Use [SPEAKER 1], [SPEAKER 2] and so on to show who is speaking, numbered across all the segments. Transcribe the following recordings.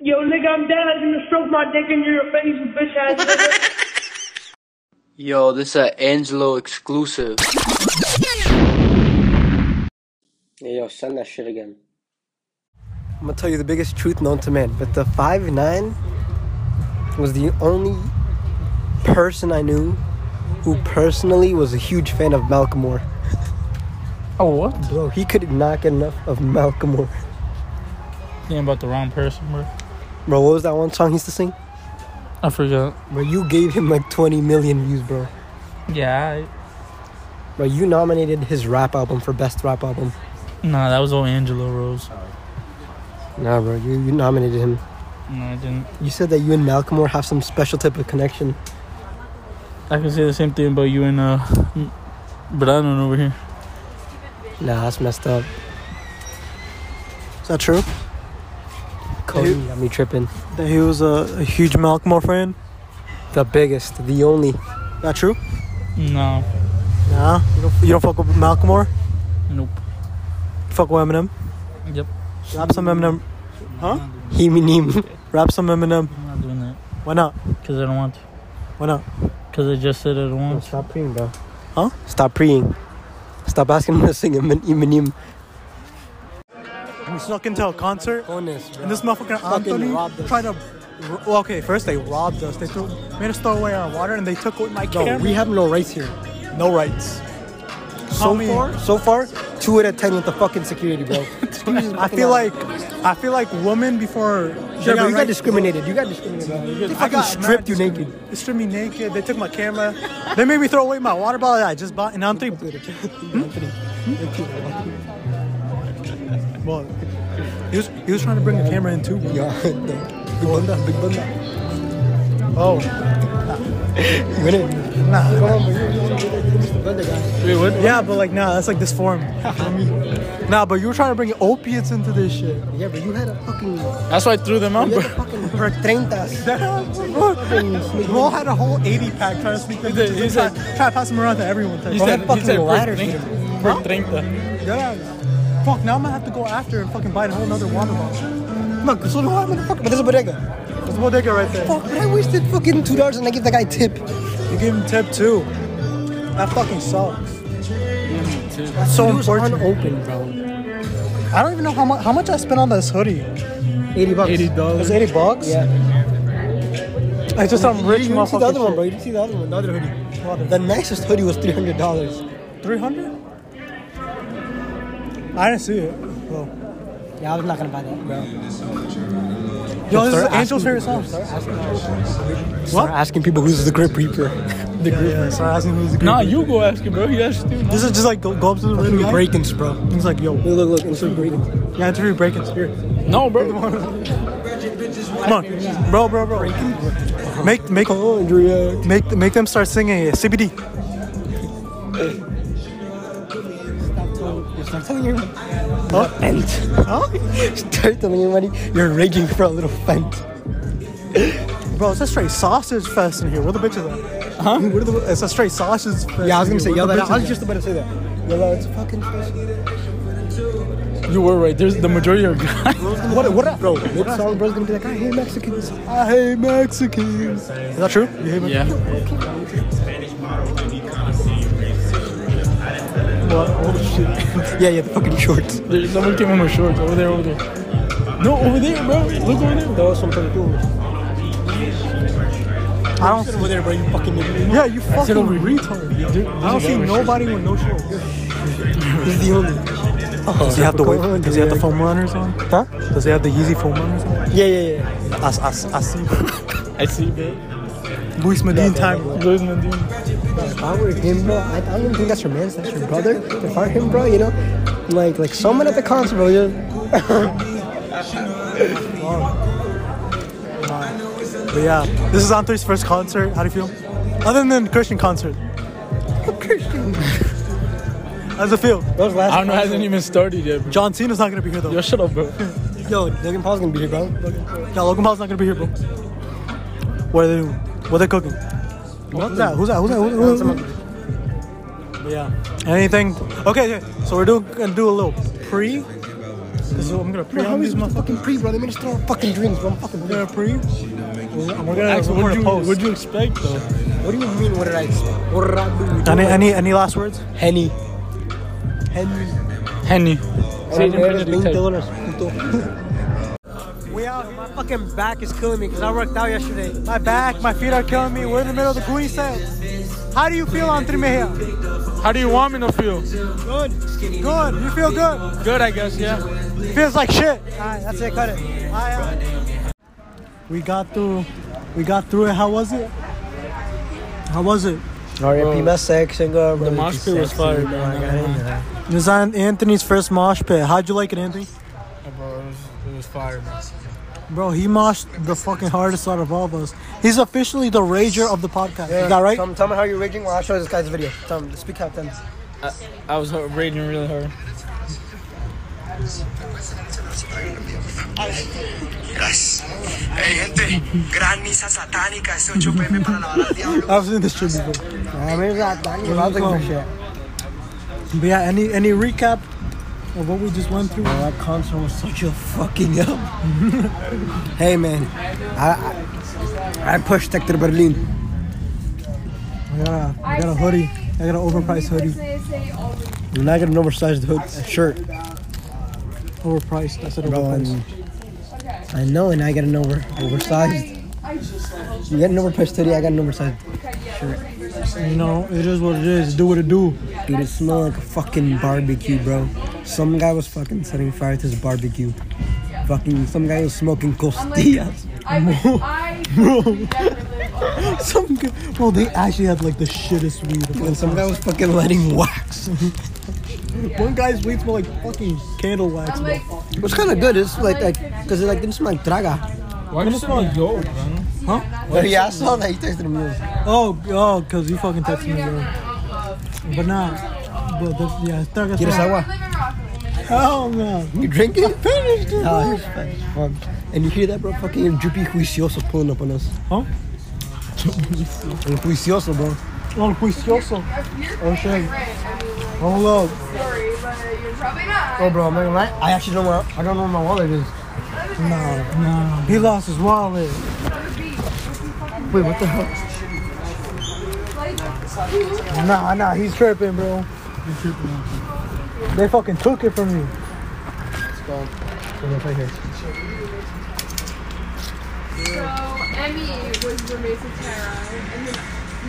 [SPEAKER 1] Yo, nigga, I'm dead. I'm gonna stroke my dick in your face, you bitch ass nigga.
[SPEAKER 2] Yo, this a Angelo exclusive.
[SPEAKER 3] Yeah, yo, send that shit again.
[SPEAKER 4] I'm gonna tell you the biggest truth known to man, but the five nine was the only person I knew who personally was a huge fan of Malcolm Moore.
[SPEAKER 5] Oh, what?
[SPEAKER 4] Bro, he could not get enough of Malcolm Moore.
[SPEAKER 5] Thinking about the wrong person, bro.
[SPEAKER 4] Bro, what was that one song he used to sing?
[SPEAKER 5] I forgot.
[SPEAKER 4] Bro, you gave him like 20 million views, bro.
[SPEAKER 5] Yeah,
[SPEAKER 4] Bro, you nominated his rap album for best rap album.
[SPEAKER 5] I, nah, that was all Angelo Rose.
[SPEAKER 4] Nah, bro, you, you nominated him.
[SPEAKER 5] No, I didn't.
[SPEAKER 4] You said that you and Malcolm Moore have some special type of connection.
[SPEAKER 5] I can say the same thing about you and uh, Brandon over here.
[SPEAKER 4] Nah, that's messed up.
[SPEAKER 6] Is that true?
[SPEAKER 4] Cody got me tripping.
[SPEAKER 6] That he was a, a huge Malcolm Moore fan?
[SPEAKER 4] The biggest, the only.
[SPEAKER 6] That true?
[SPEAKER 5] No,
[SPEAKER 6] Nah. You don't, you don't fuck with Malcolm Moore?
[SPEAKER 5] nope.
[SPEAKER 6] You fuck with Eminem?
[SPEAKER 5] Yep.
[SPEAKER 6] Rap some Eminem. Huh?
[SPEAKER 5] I'm not doing
[SPEAKER 4] He me neem.
[SPEAKER 6] Rap some Eminem.
[SPEAKER 5] that. I'm not doing that
[SPEAKER 6] Why not?
[SPEAKER 5] because I don't want to.
[SPEAKER 6] Why not?
[SPEAKER 5] Because I just said I don't
[SPEAKER 4] Bro,
[SPEAKER 5] want to.
[SPEAKER 4] Stop preying, bro.
[SPEAKER 6] Huh?
[SPEAKER 4] Stop preying. Stop asking him to sing Emin- Eminem.
[SPEAKER 6] We snuck into a concert. And this motherfucker
[SPEAKER 4] Fucking
[SPEAKER 6] Anthony
[SPEAKER 4] robbed us.
[SPEAKER 6] tried to. r- Well, okay, first they robbed us. They threw, made us throw away our water, and they took away my
[SPEAKER 4] No,
[SPEAKER 6] camera.
[SPEAKER 4] we have no rights here.
[SPEAKER 6] no rights.
[SPEAKER 4] So
[SPEAKER 6] Homie.
[SPEAKER 4] far, so far, two out of ten with the fucking security, bro.
[SPEAKER 6] I feel like I feel like women before. they
[SPEAKER 4] Sure, bro, you got
[SPEAKER 6] rights-
[SPEAKER 4] discriminated. You got discriminated. Bro. They
[SPEAKER 6] I
[SPEAKER 4] fucking
[SPEAKER 6] got
[SPEAKER 4] stripped you
[SPEAKER 6] mad
[SPEAKER 4] naked.
[SPEAKER 6] They stripped me naked. They took my camera. they made me throw away my water bottle that I just bought. And I'm Hmm? three. Well, he was he was trying to bring the camera in too.
[SPEAKER 4] Yeah, no. Big bunda, big bunda.
[SPEAKER 6] Oh,
[SPEAKER 4] You in it?
[SPEAKER 6] nah.
[SPEAKER 4] Come on, bro. You're- you're- you're- you're just a bunda guy.
[SPEAKER 5] Wait, what?
[SPEAKER 6] Yeah, but like nah, that's like this form. nah, but you were trying to bring opiates into this shit.
[SPEAKER 4] Yeah, but you had a fucking, you
[SPEAKER 5] That's why I threw them out,
[SPEAKER 4] had
[SPEAKER 5] bro.
[SPEAKER 4] a fucking per treintas.
[SPEAKER 6] Roll had a whole 80 pack trying to sneak them.
[SPEAKER 5] He said-
[SPEAKER 6] bitches
[SPEAKER 5] he
[SPEAKER 6] and
[SPEAKER 5] said-
[SPEAKER 6] try, try to pass them around to everyone.
[SPEAKER 5] He
[SPEAKER 4] Bro,
[SPEAKER 5] said,
[SPEAKER 4] that
[SPEAKER 5] he
[SPEAKER 4] fucking
[SPEAKER 5] said,
[SPEAKER 4] ladder
[SPEAKER 5] por
[SPEAKER 4] shit.
[SPEAKER 5] 30. Por 30.
[SPEAKER 6] Yeah. Fuck, now I'm gonna have to go after and fucking buy a whole nother water bottle. Look, so do I,
[SPEAKER 4] But
[SPEAKER 6] motherfucker.
[SPEAKER 4] there's a bodega.
[SPEAKER 6] There's a bodega right there.
[SPEAKER 4] Fuck, but I wasted fucking two dollars and I gave the guy tip.
[SPEAKER 6] You gave him tip too. That fucking sucks. That's so
[SPEAKER 4] It was
[SPEAKER 6] unfortunate.
[SPEAKER 4] unopened, bro.
[SPEAKER 6] I don't even know how much how much I spent on this hoodie.
[SPEAKER 4] Eighty bucks.
[SPEAKER 6] It was 80 bucks?
[SPEAKER 4] Yeah.
[SPEAKER 6] It's just some rich
[SPEAKER 4] you didn't see the
[SPEAKER 6] motherfucker.
[SPEAKER 4] other one, bro. You didn't see the other one, the other hoodie. The nicest hoodie was three hundred dollars.
[SPEAKER 6] 300? I didn't see it. Well,
[SPEAKER 4] Yeah, I was not gonna buy that, bro.
[SPEAKER 6] yo, this is
[SPEAKER 4] Start asking
[SPEAKER 6] Angel's favorite
[SPEAKER 4] people-
[SPEAKER 6] song.
[SPEAKER 4] Start asking, start asking people who's the grip reaper.
[SPEAKER 6] The group. Yeah, start asking who's the group.
[SPEAKER 5] Nah, Ah, you go ask him, bro. He asked you.
[SPEAKER 6] This is just like go, go up to the rim guy.
[SPEAKER 4] Breakins, bro.
[SPEAKER 6] He's like, yo,
[SPEAKER 4] Look, look, look. It's a breaking.
[SPEAKER 6] yeah, interview breaking spirit.
[SPEAKER 5] No, bro.
[SPEAKER 6] Come on, bro, bro, bro. Make make
[SPEAKER 4] Andrea.
[SPEAKER 6] make make them start singing it. CBD.
[SPEAKER 4] Start telling your
[SPEAKER 6] Huh?
[SPEAKER 4] fent.
[SPEAKER 6] Huh?
[SPEAKER 4] Start telling everybody you're raging for a little fent.
[SPEAKER 6] Bro, it's a straight sausage fest in here. Where the bitches at? Huh? Where the, it's a straight sausage fest.
[SPEAKER 4] Yeah, I was
[SPEAKER 6] in
[SPEAKER 4] gonna say
[SPEAKER 6] here.
[SPEAKER 4] yell
[SPEAKER 6] Where
[SPEAKER 4] that.
[SPEAKER 6] the
[SPEAKER 4] out. I was
[SPEAKER 6] bitches
[SPEAKER 4] just about to say that. Yell out. It's fucking.
[SPEAKER 5] You were right. There's the majority of guys.
[SPEAKER 4] What? What? Bro, mid song, bro's gonna be like, I hate Mexicans.
[SPEAKER 6] at? I hate Mexicans. Is that true? You hate
[SPEAKER 5] Yeah.
[SPEAKER 6] Mexicans? What? Oh shit.
[SPEAKER 4] Yeah, yeah, the fucking shorts.
[SPEAKER 5] There, someone came in with shorts over there, over there. No, over there, bro. Look over there.
[SPEAKER 4] Those some perfumes.
[SPEAKER 6] I don't see.
[SPEAKER 4] Over there, bro. You fucking. This
[SPEAKER 6] Yeah, you fucking
[SPEAKER 5] over here.
[SPEAKER 6] retard. I don't see nobody with no shorts.
[SPEAKER 4] is the only. Oh.
[SPEAKER 6] Does he have the wave? Does he have the foam runners on?
[SPEAKER 4] Huh?
[SPEAKER 6] Does he have the Yeezy foam runners on?
[SPEAKER 4] Yeah, yeah, yeah.
[SPEAKER 6] I, I, I see.
[SPEAKER 5] I see, bro.
[SPEAKER 6] Luis Medina time.
[SPEAKER 5] Luis Mendina.
[SPEAKER 4] If I were him, bro, I, I don't even think that's your man, that's your brother. If I were him, bro, you know, like like someone at the concert, bro, you know,
[SPEAKER 6] But yeah, this is Anthony's first concert. How do you feel? Other than the Christian concert,
[SPEAKER 4] Christian.
[SPEAKER 6] how's it feel?
[SPEAKER 4] Those
[SPEAKER 5] I
[SPEAKER 4] last.
[SPEAKER 5] don't know. Hasn't even started yet, bro.
[SPEAKER 6] John Cena's not gonna be here though.
[SPEAKER 5] Yo, shut up, bro.
[SPEAKER 4] Yo, Logan Paul's gonna be here, bro.
[SPEAKER 6] Yeah, Logan Paul's not gonna be here, bro. What are they doing? What are they cooking? Who's that? Who's that? Who's that? Who's that? Who's that? But yeah. Anything? Okay, okay. So we're doing, gonna do a little pre So I'm gonna pre
[SPEAKER 4] Bro, how
[SPEAKER 6] on
[SPEAKER 4] is this
[SPEAKER 6] this motherfucker.
[SPEAKER 4] fucking pre, bro? They made us throw our fucking drinks, bro. I'm fucking
[SPEAKER 6] We're gonna pre. We're gonna, we're gonna
[SPEAKER 4] Actually,
[SPEAKER 6] record
[SPEAKER 4] what'd
[SPEAKER 6] a
[SPEAKER 4] you-
[SPEAKER 6] post.
[SPEAKER 4] what'd
[SPEAKER 6] you expect though?
[SPEAKER 4] What do you mean? What did I? expect? What did I do?
[SPEAKER 6] Any, any, any last words?
[SPEAKER 4] Henny. Henny.
[SPEAKER 5] Henny. See, you didn't put it in the tape.
[SPEAKER 6] We out here.
[SPEAKER 4] My fucking back is killing me because I worked out yesterday.
[SPEAKER 6] My back, my feet are killing me. We're in the middle of the Goonie set. How do you feel on Trimeja?
[SPEAKER 5] How do you want me to feel?
[SPEAKER 6] Good. Good. You feel good.
[SPEAKER 5] Good, I guess, yeah.
[SPEAKER 6] Feels like shit.
[SPEAKER 4] Alright, that's it. Cut it.
[SPEAKER 6] Aye, aye. We got through. We got through it. How was it? How was it?
[SPEAKER 4] R.I.P. my sex singer. The
[SPEAKER 5] mosh pit was fire, bro.
[SPEAKER 6] It was on Anthony's first mosh pit. How'd you like it, Anthony?
[SPEAKER 4] Oh,
[SPEAKER 5] Bro, it was, it was fire, bro.
[SPEAKER 6] Bro, he moshed the fucking hardest out of all of us. He's officially the rager of the podcast. Is that right?
[SPEAKER 4] Tell, me- tell me how you're raging while I show this guy's video. Tell him. Speak out then.
[SPEAKER 5] I was ho- raging really hard.
[SPEAKER 7] Gracias. Hey, gente, gran misa satánica, ese 8pm para lavar al diablo.
[SPEAKER 6] I've seen this shit before.
[SPEAKER 4] I mean, that, that, I was looking for shit.
[SPEAKER 6] But yeah, any any recap of what we just went through?
[SPEAKER 4] Bro, that concert was such a fucking up. hey man, I I, I pushed Hector Berlin.
[SPEAKER 6] I got a, I got a hoodie. I got an overpriced hoodie.
[SPEAKER 4] And I got an oversized hood shirt,
[SPEAKER 6] Overpriced. I said
[SPEAKER 4] bro.
[SPEAKER 6] overpriced.
[SPEAKER 4] And I know, and I got an over oversized. You got an overpriced hoodie. I got an oversized.
[SPEAKER 6] You know, it is what it is. Do what it do.
[SPEAKER 4] Dude, it smelled like a fucking barbecue, bro. Some guy was fucking setting fire to his barbecue. Fucking, some guy was smoking costillas.
[SPEAKER 6] Some g- well, they actually had like the shittest weed. of all
[SPEAKER 4] And some
[SPEAKER 6] time.
[SPEAKER 4] guy was fucking lighting wax.
[SPEAKER 6] One guy's weed smelled like fucking candle wax. bro.
[SPEAKER 4] It was kind of good. It's like, like, cause it like didn't smell like traga.
[SPEAKER 5] Why do you smell like gold, man?
[SPEAKER 4] yeah, I saw that. You texted me.
[SPEAKER 6] Oh, oh, cause you fucking texted me, bro. But nah, bro. That's, yeah, it's dark as
[SPEAKER 4] Quieres
[SPEAKER 6] fuck.
[SPEAKER 4] agua?
[SPEAKER 6] Oh no.
[SPEAKER 4] You drink it? Finished it. Oh, it's fun. it's fun. And you hear that, bro? Fucking Juppy Juicioso's pulling up on us.
[SPEAKER 6] Huh?
[SPEAKER 4] El Juicioso, bro.
[SPEAKER 6] Oh, juicioso.
[SPEAKER 8] Oh
[SPEAKER 6] shit.
[SPEAKER 8] shit.
[SPEAKER 6] Hold up.
[SPEAKER 8] Sorry, but you're probably not.
[SPEAKER 4] Oh, bro, I'm not gonna lie. I actually don't know. I don't know where my wallet is.
[SPEAKER 6] No, no. He lost his wallet.
[SPEAKER 4] Wait, what the hell?
[SPEAKER 6] Nah, nah. He's tripping, bro. They fucking took it from you.
[SPEAKER 8] So Emmy was roommates with Tara, and then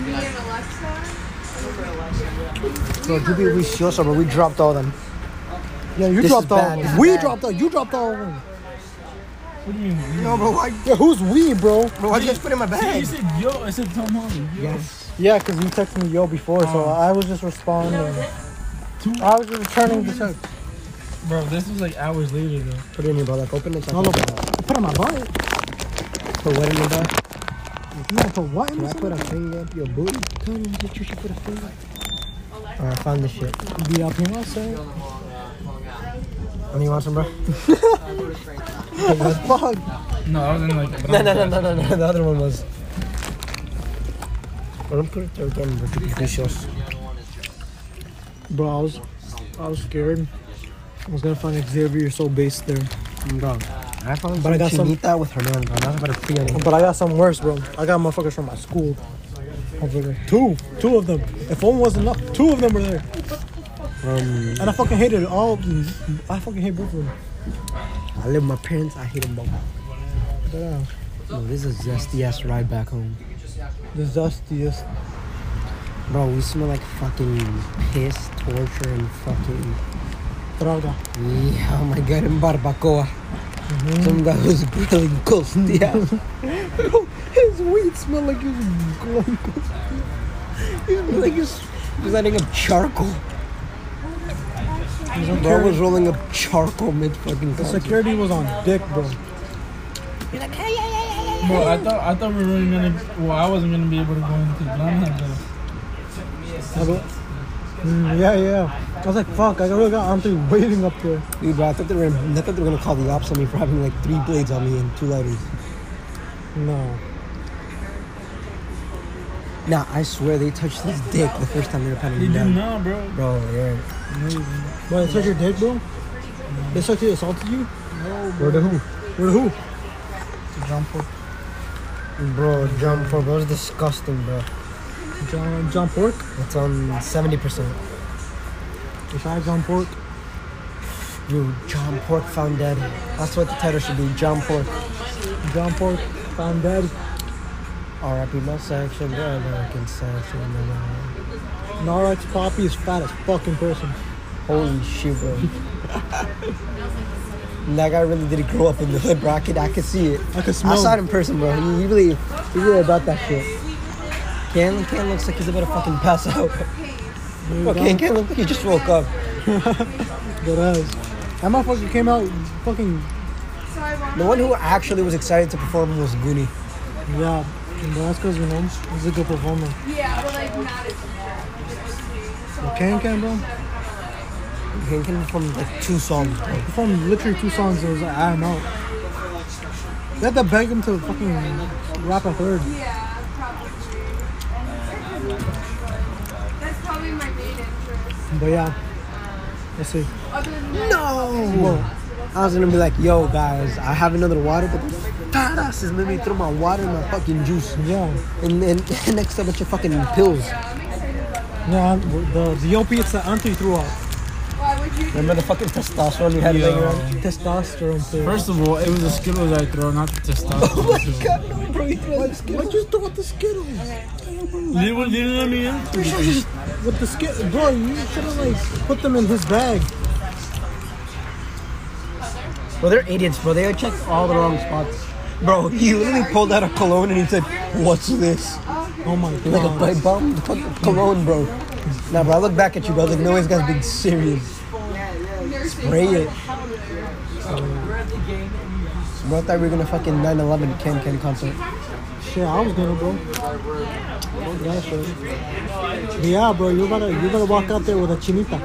[SPEAKER 8] me and Alexa.
[SPEAKER 4] Bro, Juppy Juicioso, bro. We dropped all them.
[SPEAKER 6] Yeah, you
[SPEAKER 4] This is
[SPEAKER 6] dropped all.
[SPEAKER 4] bad. This is
[SPEAKER 6] We
[SPEAKER 4] bad.
[SPEAKER 6] dropped all. You dropped all.
[SPEAKER 4] No, bro. Why,
[SPEAKER 6] Yeah, who's we, bro?
[SPEAKER 4] bro, why'd you guys put it in my bag?
[SPEAKER 5] said yo. I said Tom Holland. Yes.
[SPEAKER 6] Yeah, cause you texted me yo before, so I was just responding. Oh. I was just returning the text.
[SPEAKER 5] Bro, this was like hours later, though.
[SPEAKER 4] Put it in your bag. Like, open it.
[SPEAKER 6] No, look, I put it in my butt.
[SPEAKER 4] Put what in your bag?
[SPEAKER 6] You want to put what in
[SPEAKER 4] Can I
[SPEAKER 6] this?
[SPEAKER 4] put a finger up your booty? Tell me that you should put a finger. Alright, I found this shit.
[SPEAKER 6] Be up here outside.
[SPEAKER 4] And you want some, bro?
[SPEAKER 6] Fuck.
[SPEAKER 5] No, I was in like.
[SPEAKER 4] No, no, no, no, no, no. The other one was. Well, I'm pretty sure it's on the officials.
[SPEAKER 6] Bro, I was, I was scared. I was gonna find Xavier so based there.
[SPEAKER 4] Bro, I found
[SPEAKER 6] But I got some-
[SPEAKER 4] chinita with her man, bro. Not about a free anything.
[SPEAKER 6] But I got some worse, bro. I got motherfuckers from my school. Over there. Two. Two of them. If one wasn't enough, two of them were there.
[SPEAKER 4] Um,
[SPEAKER 6] And I fucking hated it. All I fucking hate both of them.
[SPEAKER 4] I live with my parents. I hate them both.
[SPEAKER 6] Yeah.
[SPEAKER 4] Bro, this is a zesty ass ride back home.
[SPEAKER 6] The dustiest.
[SPEAKER 4] Bro, we smell like fucking piss, torture, and fucking.
[SPEAKER 6] Traga.
[SPEAKER 4] Yeah, oh my god, in barbacoa. Some guy was grilling costillas. Bro, his weed smelled like he was grilling costillas. He smelled like he was, he was lighting up charcoal. Bro was rolling up charcoal mid fucking
[SPEAKER 6] The
[SPEAKER 4] concert.
[SPEAKER 6] security was on dick, bro.
[SPEAKER 5] Bro, I thought I thought we were gonna. Well, I wasn't gonna be able to go into the blonde though.
[SPEAKER 6] I go- Mm, yeah, yeah. I was like, fuck, I really got Anthony waiting up there.
[SPEAKER 4] Dude, bro, I thought they were I thought they were gonna call the ops on me for having like three blades on me and two lighters.
[SPEAKER 6] No.
[SPEAKER 4] Nah, I swear they touched his dick the first time they were patting
[SPEAKER 5] They
[SPEAKER 4] him
[SPEAKER 5] did
[SPEAKER 4] down.
[SPEAKER 5] not, bro.
[SPEAKER 4] Bro, yeah.
[SPEAKER 6] But it's like your dick, bro? They said they assaulted you?
[SPEAKER 4] Where the who?
[SPEAKER 6] With who?
[SPEAKER 4] John Paul. Bro, John Paul. That was disgusting, bro.
[SPEAKER 6] John, John Pork?
[SPEAKER 4] It's on 70%.
[SPEAKER 6] They shot John Pork.
[SPEAKER 4] You, John Pork found dead. That's what the title should be, John Pork.
[SPEAKER 6] John Pork found dead.
[SPEAKER 4] R.I.P. my section, the American section. man.
[SPEAKER 6] Narat's Poppy is fat as fucking person.
[SPEAKER 4] Holy shit, bro. that guy really did grow up in the hood, bro. I could, I could see it.
[SPEAKER 6] I can smell
[SPEAKER 4] I saw it
[SPEAKER 6] him.
[SPEAKER 4] in person, bro. He, he really, he really about that shit. Can, Can looks like he's about to fucking pass out. Bro, Can, Can looks like he just woke up.
[SPEAKER 6] Good ass. That motherfucker came out fucking,
[SPEAKER 8] So I want
[SPEAKER 4] The one who actually was excited to perform was Goonie.
[SPEAKER 6] yeah. But that's because, you know, he's a good performer.
[SPEAKER 8] Yeah, but like not as bad.
[SPEAKER 6] Can Can, bro?
[SPEAKER 4] Can, Can performed like two songs, bro.
[SPEAKER 6] performed literally two songs. It was like, I don't know. They had to beg him to fucking rap a third.
[SPEAKER 8] Yeah, probably. That's probably my main interest.
[SPEAKER 6] But yeah, let's see.
[SPEAKER 8] Other than that,
[SPEAKER 4] No! I was gonna be like, yo guys, I have another water, but this fat ass is moving through my water and my fucking juice.
[SPEAKER 6] Yeah,
[SPEAKER 4] And then next up, bunch of fucking pills.
[SPEAKER 6] yeah. The the opiates that Auntie threw out.
[SPEAKER 8] why would you?
[SPEAKER 4] Remember the fucking testosterone you had
[SPEAKER 5] Yeah.
[SPEAKER 4] laying around?
[SPEAKER 6] Testosterone too.
[SPEAKER 5] First of all, it was a Skittles I throw, not the testosterone. Oh my god,
[SPEAKER 4] Bro, you threw the Skittles.
[SPEAKER 6] What you throw out the Skittles?
[SPEAKER 5] you know what I mean?
[SPEAKER 6] With the skit, bro, you should have like put them in his bag.
[SPEAKER 4] Bro, they're idiots, bro. They checked all the wrong spots. Bro, he literally pulled out a cologne and he said, what's this?
[SPEAKER 6] Oh my
[SPEAKER 4] Like
[SPEAKER 6] god.
[SPEAKER 4] a pipe bomb? The fucking cologne, bro. Nah, bro, I look back at you, bro. I was like, no, this guy's being serious. Spray it. Bro, I thought we were gonna fucking 9-11 Ken Ken concert.
[SPEAKER 6] Shit, I was gonna, bro. Fuck that shit. But yeah, bro, you gotta you gotta walk out there with a chinita.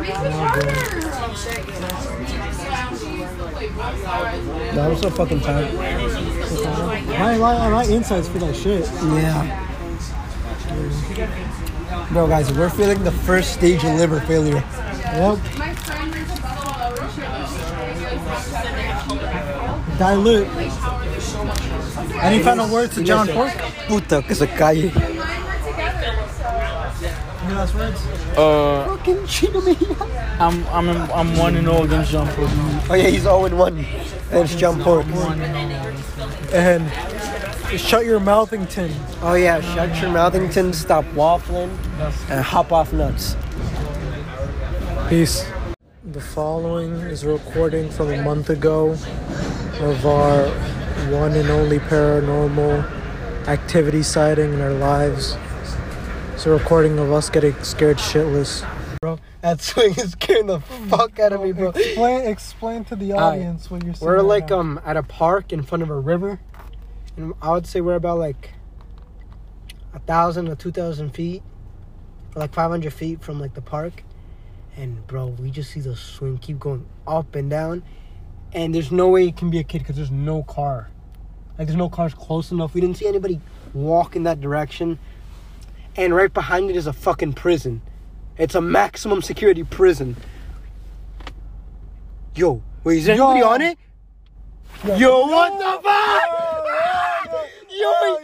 [SPEAKER 8] Make me Oh, harder.
[SPEAKER 4] No, I'm so fucking tired.
[SPEAKER 6] I ain't lie, I like insides for that shit.
[SPEAKER 4] Yeah. Bro, guys, we're feeling the first stage of liver failure.
[SPEAKER 6] Yep,
[SPEAKER 8] My friend is Buffalo, and she was just doing this
[SPEAKER 6] dilute. Any final words to John Pork?
[SPEAKER 4] Puta que se calle.
[SPEAKER 8] And mine were together, so.
[SPEAKER 6] Any last words?
[SPEAKER 5] Uh, I'm I'm I'm one and all against John Paul.
[SPEAKER 4] Oh yeah, he's 0-1. And it's John Pork.
[SPEAKER 6] And shut your mouth and tin.
[SPEAKER 4] Oh yeah, shut your mouthington, stop waffling, and hop off nuts.
[SPEAKER 6] Peace. The following is a recording from a month ago of our one and only paranormal activity sighting in our lives. It's a recording of us getting scared shitless.
[SPEAKER 4] That swing is scaring the fuck out of me, bro.
[SPEAKER 6] Explain, explain to the
[SPEAKER 4] audience
[SPEAKER 6] what you're saying.
[SPEAKER 4] We're like um at a park in front of a river, and I would say we're about like a thousand or two thousand feet, or like five hundred feet from like the park, and bro, we just see the swing keep going up and down, and there's no way it can be a kid because there's no car, like there's no cars close enough. We didn't see anybody walk in that direction, and right behind it is a fucking prison. It's a maximum security prison. Yo, wait, is there anybody on it? Yo, what the fuck? Yo,